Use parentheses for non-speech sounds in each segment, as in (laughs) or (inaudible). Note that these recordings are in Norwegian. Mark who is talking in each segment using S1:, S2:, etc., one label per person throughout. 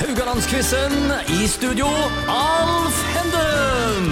S1: Haugalandsquizen. I studio, Alf Henden!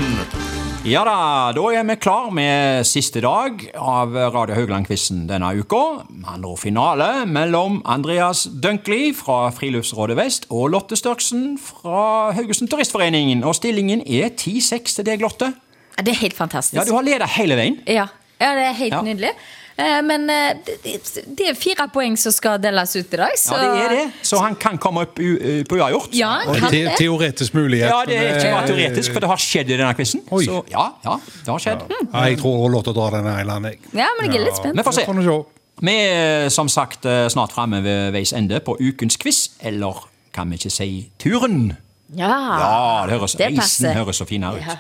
S2: Ja da, da er vi klar med siste dag av Radio Haugland-quizen denne uka. Med andre ord finale mellom Andreas Dunkley fra Friluftsrådet Vest og Lotte Størksen fra Haugesund Turistforeningen. Og stillingen er 10-6 til deg, Lotte.
S3: Ja, Det er helt fantastisk.
S2: Ja, du har ledet hele veien.
S3: Ja. Ja, det er helt
S2: Ja.
S3: nydelig. Eh, Men eh, det- det det er fire poeng som skal deles ut i dag. Så
S2: Ja, det er det. Så han kan komme opp u- eh, på uavgjort.
S3: Ja,
S1: Og
S3: kan
S1: det-
S3: det.
S4: Teoretisk mulighet.
S2: Ja, det er ikke bare
S4: men, eh,
S2: teoretisk, for det har skjedd i denne quizen.
S4: Oi.
S2: Så ja, ja, det har skjedd.
S4: Nei, jeg tror hun lot å dra den eiland, jeg.
S3: Ja, men jeg er litt spent.
S2: Men- Vi får se.
S4: Det får vi se.
S2: Vi er som sagt eh, snart framme ved veis ende på ukens quiz, eller kan vi ikke si turen?
S3: Ja.
S2: Ja, det høres,
S3: Ah, det passer.
S2: reisen høres så fin her ut.
S3: Ja.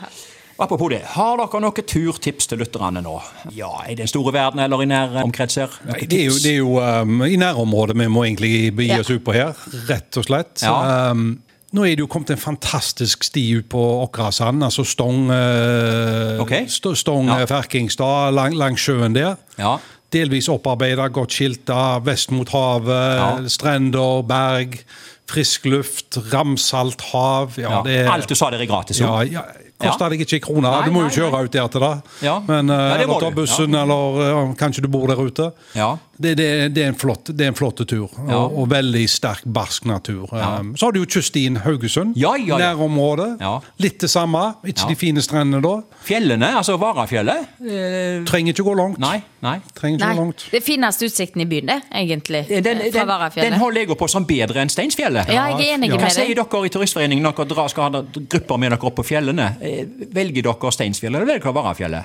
S2: Og Apropos det, har dere noen turtips til lytterne nå? Ja, I den store verden eller i nær omkrets her?
S4: Nei, det er jo, det er jo um, i nærområdet vi må egentlig gi
S3: Ja.
S4: oss ut på her, rett og slett.
S2: Ja.
S4: Um, nå er det jo kommet en fantastisk sti ut på Åkrasand, altså Stong, eh,
S2: Ok.
S4: St Stong
S2: Ja.
S4: eh, Ferkingstad, lang, langs sjøen der.
S2: Ja.
S4: Delvis opparbeida, godt skilta, vest mot havet,
S2: Ja.
S4: strender, berg, frisk luft, ramsalt hav. Ja,
S2: Ja,
S4: det er-
S2: Alt du sa der er gratis. jo.
S4: Ja, ja. Koster
S2: Ja.
S4: deg ikke en krone.
S2: Nei,
S4: du må jo
S2: nei,
S4: kjøre ut der til det.
S2: Ja.
S4: Men eh,
S2: Ja, det må
S4: eller ta
S2: du.
S4: bussen, eller eh, kanskje du bor der ute.
S2: Ja.
S4: Det, det, det er en flott, det er en flott tur,
S2: Ja.
S4: og, og veldig sterk, barsk natur. Um, så har du jo kyststien Haugesund.
S2: Ja, ja, ja.
S4: Nærområdet.
S2: Ja.
S4: Litt det samme. Ikke
S2: Ja.
S4: de fine strendene da.
S2: Fjellene, altså Varafjellet? eh,
S4: Trenger ikke gå langt.
S2: Nei, nei.
S4: Trenger ikke
S3: Nei,
S4: gå langt.
S3: det fineste utsikten i byen, det, egentlig. eh,
S2: Den, den,
S3: Fra
S2: den
S3: Varafjellet.
S2: holder jeg jo på som bedre enn Steinsfjellet.
S3: Ja, jeg er enig
S4: Ja.
S2: Hva
S3: med
S2: sier
S3: deg.
S2: dere i Turistforeningen når dere drar, skal ha grupper med dere opp på fjellene? Eh, Velger dere Steinsfjellet eller velger dere Varafjellet?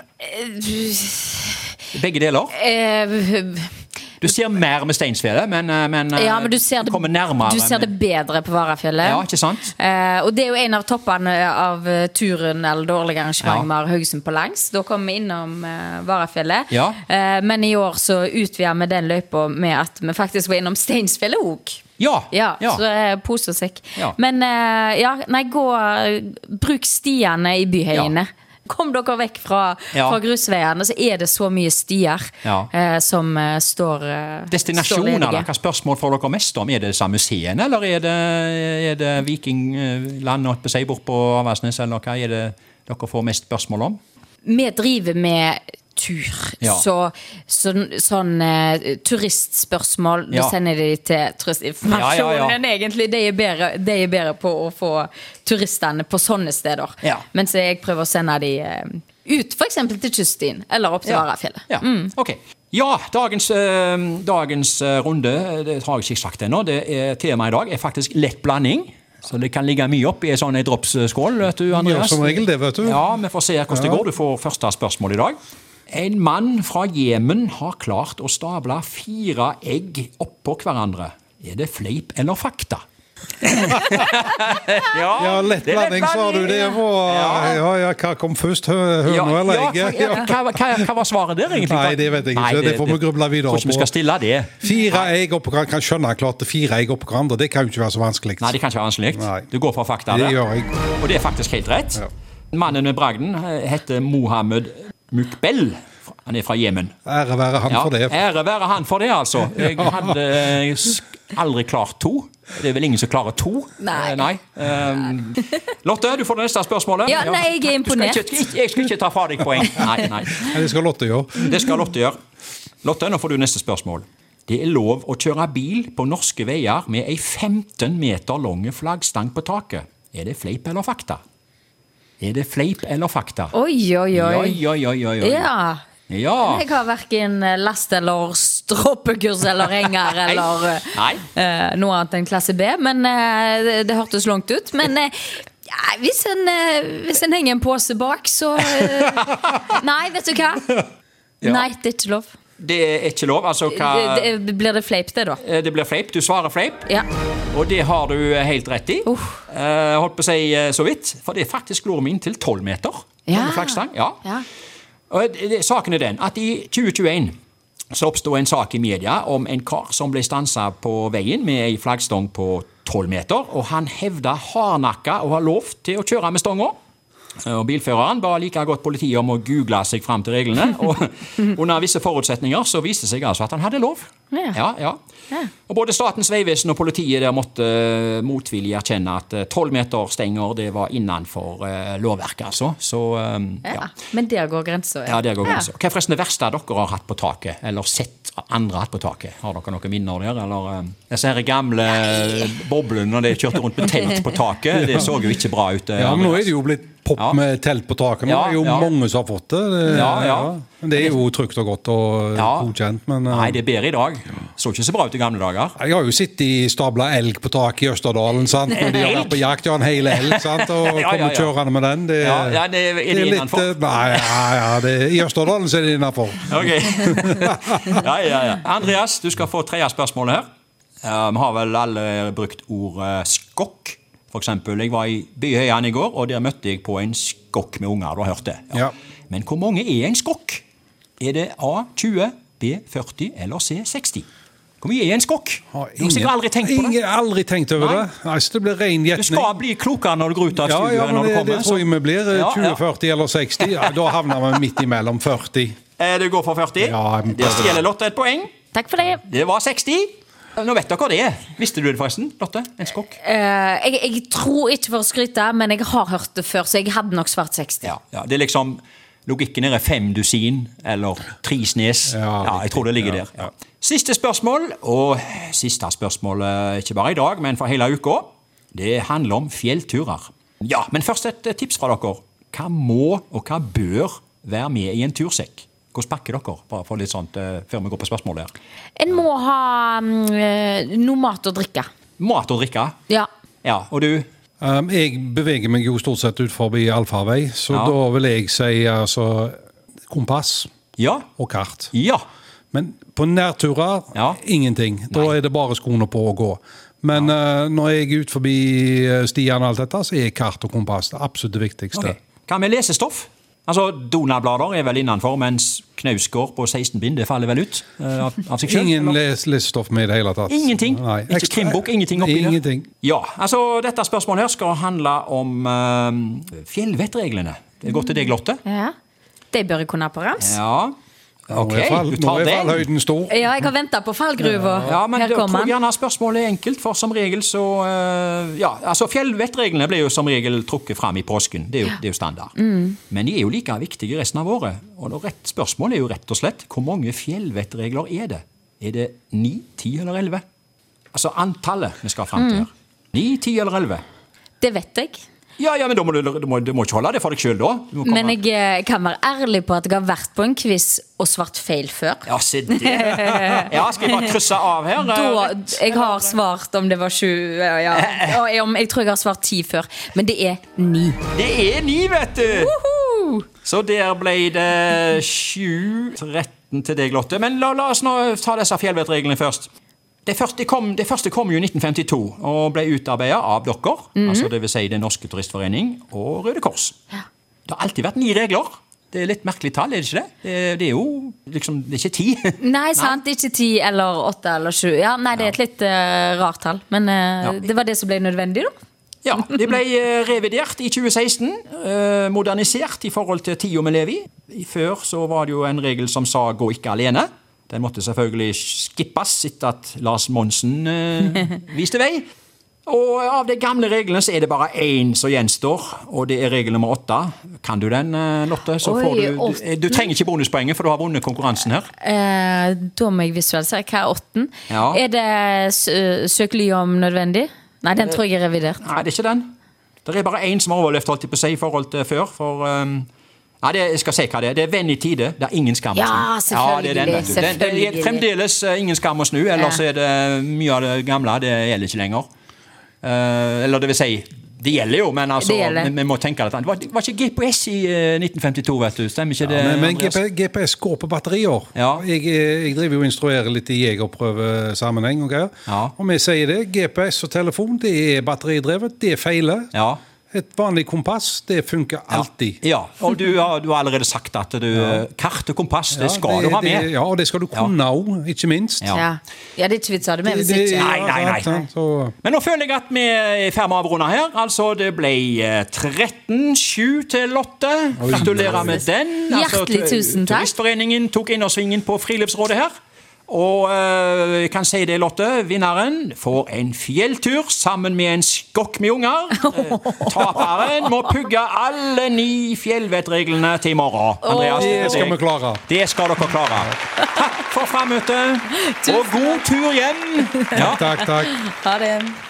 S2: Begge deler.
S3: Eh,
S2: Du ser mer med Steinsfjellet, men, eh, men, eh,
S3: Ja, men du ser det,
S2: kommer nærmere.
S3: du ser det bedre på Varafjellet.
S2: Ja, ikke sant?
S3: Eh, og det er jo en av toppene av eh, turen eller det årlige
S2: Ja.
S3: arrangementet vi har Haugesund på langs. Da kommer vi innom eh, Varafjellet.
S2: Ja.
S3: Eh, men i år så utvider vi den løypa med at vi faktisk var innom Steinsfjellet òg.
S2: Ja,
S3: Ja,
S2: ja.
S3: så eh, pose og sekk.
S2: Ja.
S3: Men eh, ja, nei, gå Bruk stiene i byhøyene. Kom dere vekk fra,
S2: Ja.
S3: fra grusveiene, så er det så mye stier
S2: Ja.
S3: eh, som eh, står eh, står
S2: Destinasjoner,
S3: ledige.
S2: da? Hva spørsmål får dere mest om? Er det disse museene, eller er det, er det vikingland holdt på å si, bort på Avaldsnes, eller hva er det dere får mest spørsmål om?
S3: Vi driver med tur,
S2: Ja.
S3: så, sånn, sånn eh, turistspørsmål Da
S2: Ja.
S3: sender de til turistinformasjonen,
S2: Ja, ja, ja.
S3: egentlig. De er, bedre, de er bedre på å få turistene på sånne steder.
S2: Ja.
S3: Mens jeg prøver å sende de eh, ut, f.eks. til kyststien, eller opp til Varafjellet. Mm.
S2: Ja, ok. Ja, dagens, eh, dagens eh, runde, eh, det har jeg ikke sagt ennå, det er temaet i dag er faktisk lett blanding. Så det kan ligge mye oppi en sånn en dropsskål, vet du, Andreas.
S4: Ja, som regel det, vet du.
S2: Ja, vi får se hvordan det
S4: Ja.
S2: går. Du får første spørsmål i dag. En mann fra Jemen har klart å stable fire egg oppå hverandre. Er det fleip eller
S4: (laughs)
S2: fakta? (laughs)
S4: Ja, lett
S2: det er lett
S4: blanding, sa du. Det
S2: blanding,
S4: var
S2: ja.
S4: Ja, ja, hva kom først? hø- Høna eller
S2: ja,
S4: egget? Ja.
S2: hva, hva, hva var svaret der, egentlig?
S4: Nei, det vet jeg ikke. Det får vi gruble videre
S2: på. Vi
S4: på.
S2: skal stille det.
S4: Fire egg oppå hverandre. Kan skjønne klart det er fire egg oppå hverandre. Det kan jo ikke være så vanskelig.
S2: Nei, det kan ikke være
S4: Nei.
S2: vanskelig. Du går for fakta.
S4: Det
S2: der.
S4: gjør jeg.
S2: Og det er faktisk helt rett.
S4: Ja.
S2: Mannen med bragden eh, heter Mohammed Mukbel. Han er fra Jemen.
S4: Ære være han
S2: Ja,
S4: for det.
S2: ære være han for det,
S4: (laughs)
S2: altså. Jeg hadde eh, sk- aldri klart to. Det er vel ingen som klarer to?
S3: Nei.
S2: Eh, Ehm, Lotte, du får det neste spørsmålet.
S3: Ja, nei, jeg er
S2: Du skal
S3: imponert.
S2: ikke, jeg skal ikke ta fra deg poeng. Nei, nei.
S4: Ja, Det skal Lotte gjøre.
S2: Det skal Lotte gjøre. Lotte, nå får du neste spørsmål. Det er lov å kjøre bil på norske veier med ei 15 meter lang flaggstang på taket. Er det fleip eller fakta? Er det fleip eller fakta?
S3: Oi, oi, oi.
S2: Oi, oi, oi, oi, oi.
S3: Ja.
S2: Ja.
S3: Jeg har verken last eller stroppekurs eller henger
S2: (laughs) Nei.
S3: eller eh,
S2: Nei.
S3: eh, noe annet enn klasse B, men eh, det, det hørtes langt ut. Men eh, ja, hvis, en, eh, hvis en henger en pose bak, så
S2: (laughs)
S3: eh, Nei, vet du hva? Nei, det er ikke lov.
S2: Det er ikke lov. Altså, hva
S3: Det, det, blir det fleip, det, da?
S2: Eh, Det blir fleip. Du svarer fleip.
S3: Ja.
S2: Og det har du eh, helt rett i.
S3: Uff.
S2: Eh, holdt på å si eh, så vidt, for det er faktisk lår vi inntil 12 meter.
S3: Ja.
S2: Med flaggstang. Ja.
S3: Ja.
S2: Og det- det- Saken er den at i 2021 så oppsto en sak i media om en kar som ble stansa på veien med ei flaggstong på 12 meter, og han hevda hardnakka å ha lov til å kjøre med stonga. Og Bilføreren ba like godt politiet om å google seg fram til
S3: (laughs)
S2: reglene. og Under visse forutsetninger så viste det seg altså at han hadde lov.
S3: Ja.
S2: Ja, ja.
S3: Ja.
S2: Og Både Statens vegvesen og politiet der måtte eh, motvillig erkjenne at eh, tolv meter stenger det var innenfor eh, lovverket. altså. Så, eh, ja.
S3: Ja. Men der går grensa.
S2: Ja, der går grensa. Hva er forresten det verste dere har hatt på taket? Eller sett andre hatt på taket? Har dere noen minner der? Eller eh, disse her gamle boblene når de kjørte rundt med telt på taket? Det så jo ikke bra ut. eh,
S4: Ja, men nå er det jo blitt popp
S2: Ja.
S4: med telt på taket. Nå
S2: Ja,
S4: er det jo
S2: ja.
S4: mange som har fått det. Det-
S2: Ja, ja.
S4: Men det er jo trygt og godt og
S2: Ja.
S4: godkjent, men eh,
S2: Nei, det er bedre i dag. Så ikke så bra ut i gamle dager.
S4: Jeg har jo sittet i stabla elg på taket i
S2: (laughs)
S4: Østerdalen, sant? når de har vært på jakt, ja, en hel elg, sant? og
S2: Ja, ja,
S4: kommer
S2: ja.
S4: kjørende med den. Det,
S2: Ja, ja, det- er det
S4: litt,
S2: innenfor?
S4: eh, Nei, ja, ja, det, i Østerdalen så er det innafor.
S2: Ok. (laughs) ja, ja, ja. Andreas, du skal få tredje spørsmålet her. Eh, Vi har vel alle brukt ord eh, skokk. For eksempel, jeg var i Byhøyan i går, og der møtte jeg på en skokk med unger. Du har hørt det.
S4: Ja.
S2: Men hvor mange er en skokk? Er det A 20, B 40 eller C 60? Hvor mye er en skokk? Du har sikkert aldri tenkt på det.
S4: Ingen, aldri tenkt over
S2: Nei.
S4: det. Nei, så det blir ren
S2: Du
S4: gjetning.
S2: skal bli klokere når du går ut av
S4: Ja,
S2: studiet.
S4: ja, men
S2: når du
S4: det,
S2: kommer,
S4: det tror jeg
S2: så-
S4: vi blir.
S2: Ja,
S4: eh,
S2: ja.
S4: 20, 40 eller 60. Ja, da havner vi midt imellom 40.
S2: Eh, Du går for 40.
S4: Ja, jeg må
S2: det
S4: prøve det.
S2: stjeler Lotte et poeng.
S3: Takk for det.
S2: Det var 60. Nå vet dere det. Visste du det forresten, Lotte? En skokk?
S3: Eh, jeg, jeg tror ikke for å skryte, men jeg har hørt det før, så jeg hadde nok svart 60.
S2: Ja, ja, det er liksom Logikken her er fem dusin eller tre snes.
S4: Ja,
S2: Ja, jeg tror det ligger der. Ja. Siste spørsmål, og siste spørsmål eh, ikke bare i dag, men for hele uka. Det handler om fjellturer. Ja, men først et eh, tips fra dere. Hva må og hva bør være med i en tursekk? Hvordan pakker dere? Bare for litt sånt eh, før vi går på spørsmålet her.
S3: En må ha mm, eh, noe mat å drikke.
S2: Mat og drikke.
S3: Ja.
S2: Ja, og du?
S4: Um, jeg beveger meg jo stort sett ut forbi allfarvei, så
S2: Ja.
S4: da vil jeg si altså, kompass
S2: Ja.
S4: og kart.
S2: Ja.
S4: Men på nærturer
S2: Ja.
S4: ingenting. Da er det bare skoene på og gå. Men eh, når jeg er ut forbi eh, stiene og alt dette, så er kart og kompass det absolutt viktigste.
S2: Ok. Hva med lesestoff? Altså, Donald-blader er vel innenfor, mens Knausgård på 16 bind det faller vel ut eh, av, av seg selv?
S4: Ingen
S2: eller?
S4: les, lesestoff med i det hele tatt.
S2: Ingenting.
S4: Nei.
S2: Ikke
S4: Ekstra-
S2: krimbok, ingenting oppi der?
S4: ingenting.
S2: Ja, altså, Dette spørsmålet her skal handle om eh, fjellvettreglene. Det går til deg, Lotte.
S3: ja. De bør jeg kunne ha på rams. Ja.
S2: Ja, ok,
S4: Nå er fall-
S2: du
S4: nå
S2: tar
S4: er
S2: den.
S4: fallhøyden stor.
S3: jeg har venta på fallgruva.
S2: Ja, men
S3: Her
S2: da tror
S3: kommer
S2: jeg
S3: den.
S2: gjerne spørsmålet er enkelt, for som regel så eh, Ja, altså fjellvettreglene ble jo som regel trukket fram i påsken, det er jo, det er jo standard.
S3: Mm.
S2: Men de er jo like viktige resten av året. Og det rett spørsmålet er jo rett og slett hvor mange fjellvettregler er det? Er det ni, ti eller elleve? Altså antallet vi skal fram
S3: Mm.
S2: til her. Ni, ti eller elleve?
S3: Det vet jeg.
S2: Ja, ja, men da må du, du, må, du må ikke holde det for deg sjøl, da. Du må komme-
S3: Men jeg eh, kan være ærlig på at jeg har vært på en quiz og svart feil før.
S2: Ja, se det.
S3: (laughs)
S2: Ja, skal jeg bare krysse av her?
S3: Da, jeg har svart om det var sju ja, ja.
S2: (laughs)
S3: Og om- Jeg tror jeg har svart ti før, men det er ni.
S2: Det er ni, vet du!
S3: Woohoo!
S2: Så der ble det 7-13 til deg, Lotte. Men la, la oss nå ta disse fjellvettreglene først. Det første, kom, det første kom jo i 1952 og ble utarbeidet av dere, altså det vil si Den norske turistforening og Røde Kors. Det har alltid vært ni regler. Det er litt merkelig tall, er det ikke det? Det, det er jo liksom Det er ikke ti. (laughs)
S3: Nei, sant. Ikke ti eller åtte eller sju. Ja, nei, det er et litt eh, rart tall, men eh,
S2: Ja.
S3: det var det som ble nødvendig, da.
S2: Ja, De ble eh, revidert i 2016. eh, Modernisert i forhold til tida vi lever i. I Før så var det jo en regel som sa 'gå ikke alene'. Den måtte selvfølgelig skippes etter at Lars Monsen eh, viste vei. Og av de gamle reglene så er det bare én som gjenstår, og det er regel nummer åtte. Kan du den, eh, Lotte? Så
S3: Oi,
S2: får du, du,
S3: åtte.
S2: du trenger ikke bonuspoenget, for du har vunnet konkurransen her.
S3: Eh, da må jeg visualisere. Hva er åtten?
S2: Ja.
S3: Er det sø- søk ly om nødvendig? Nei,
S2: Eh,
S3: den tror jeg er revidert.
S2: Nei, det er ikke den. Det er bare én som har overlevd holdt jeg på å si, i forhold til før. For, ehm, nei, det, jeg skal si hva det er. Det er Venn i tide. Det er ingen skam å snu.
S3: Ja, selvfølgelig,
S2: det er den, vet du. Den- den
S3: selvfølgelig.
S2: er fremdeles eh, ingen skam å snu, ellers
S3: Ja.
S2: er det mye av det gamle det gjelder ikke lenger. Eh, eller det vil si det gjelder jo, men altså,
S3: Det gjelder.
S2: vi, vi må tenke litt annet. Var, var ikke GPS i eh, 1952, vet du? Stemmer ikke det?
S4: Ja, men men
S2: Andreas?
S4: GP, GPS går på batterier.
S2: Ja.
S4: Jeg, eh, jeg driver jo og instruerer litt i jegerprøvesammenheng. og greier.
S2: Ja.
S4: Og vi sier det. GPS og telefon det er batteridrevet. Det feiler.
S2: Ja.
S4: Et vanlig kompass, det funker alltid.
S2: Ja, og du har, du har allerede sagt at du eh, Kart og kompass, det skal
S4: Ja,
S2: du ha med.
S4: det- Ja, og det skal du kunne òg, ikke minst.
S2: Ja.
S3: Ja. ja, det er ikke vits å ha det med hvis
S4: Det-
S3: ikke
S2: Nei, nei, nei.
S4: sant, sant, så-
S2: Men nå føler jeg at vi er i ferd med å avrunde her. Altså, det ble eh, 13-7 til Lotte. Gratulerer med den. Altså,
S3: Hjertelig
S2: tu-
S3: tusen takk.
S2: Turistforeningen tok innersvingen på friluftsrådet her. Og eh, jeg kan si det, Lotte. Vinneren får en fjelltur sammen med en skokk med
S3: (laughs)
S2: unger. Eh, taperen må pugge alle ni fjellvettreglene til i morgen. Andreas,
S4: Det skal
S2: deg.
S4: vi klare.
S2: Det skal dere klare. Takk for frammøtet, og god tur hjem. Ja.
S4: Takk, takk.
S3: Ha det.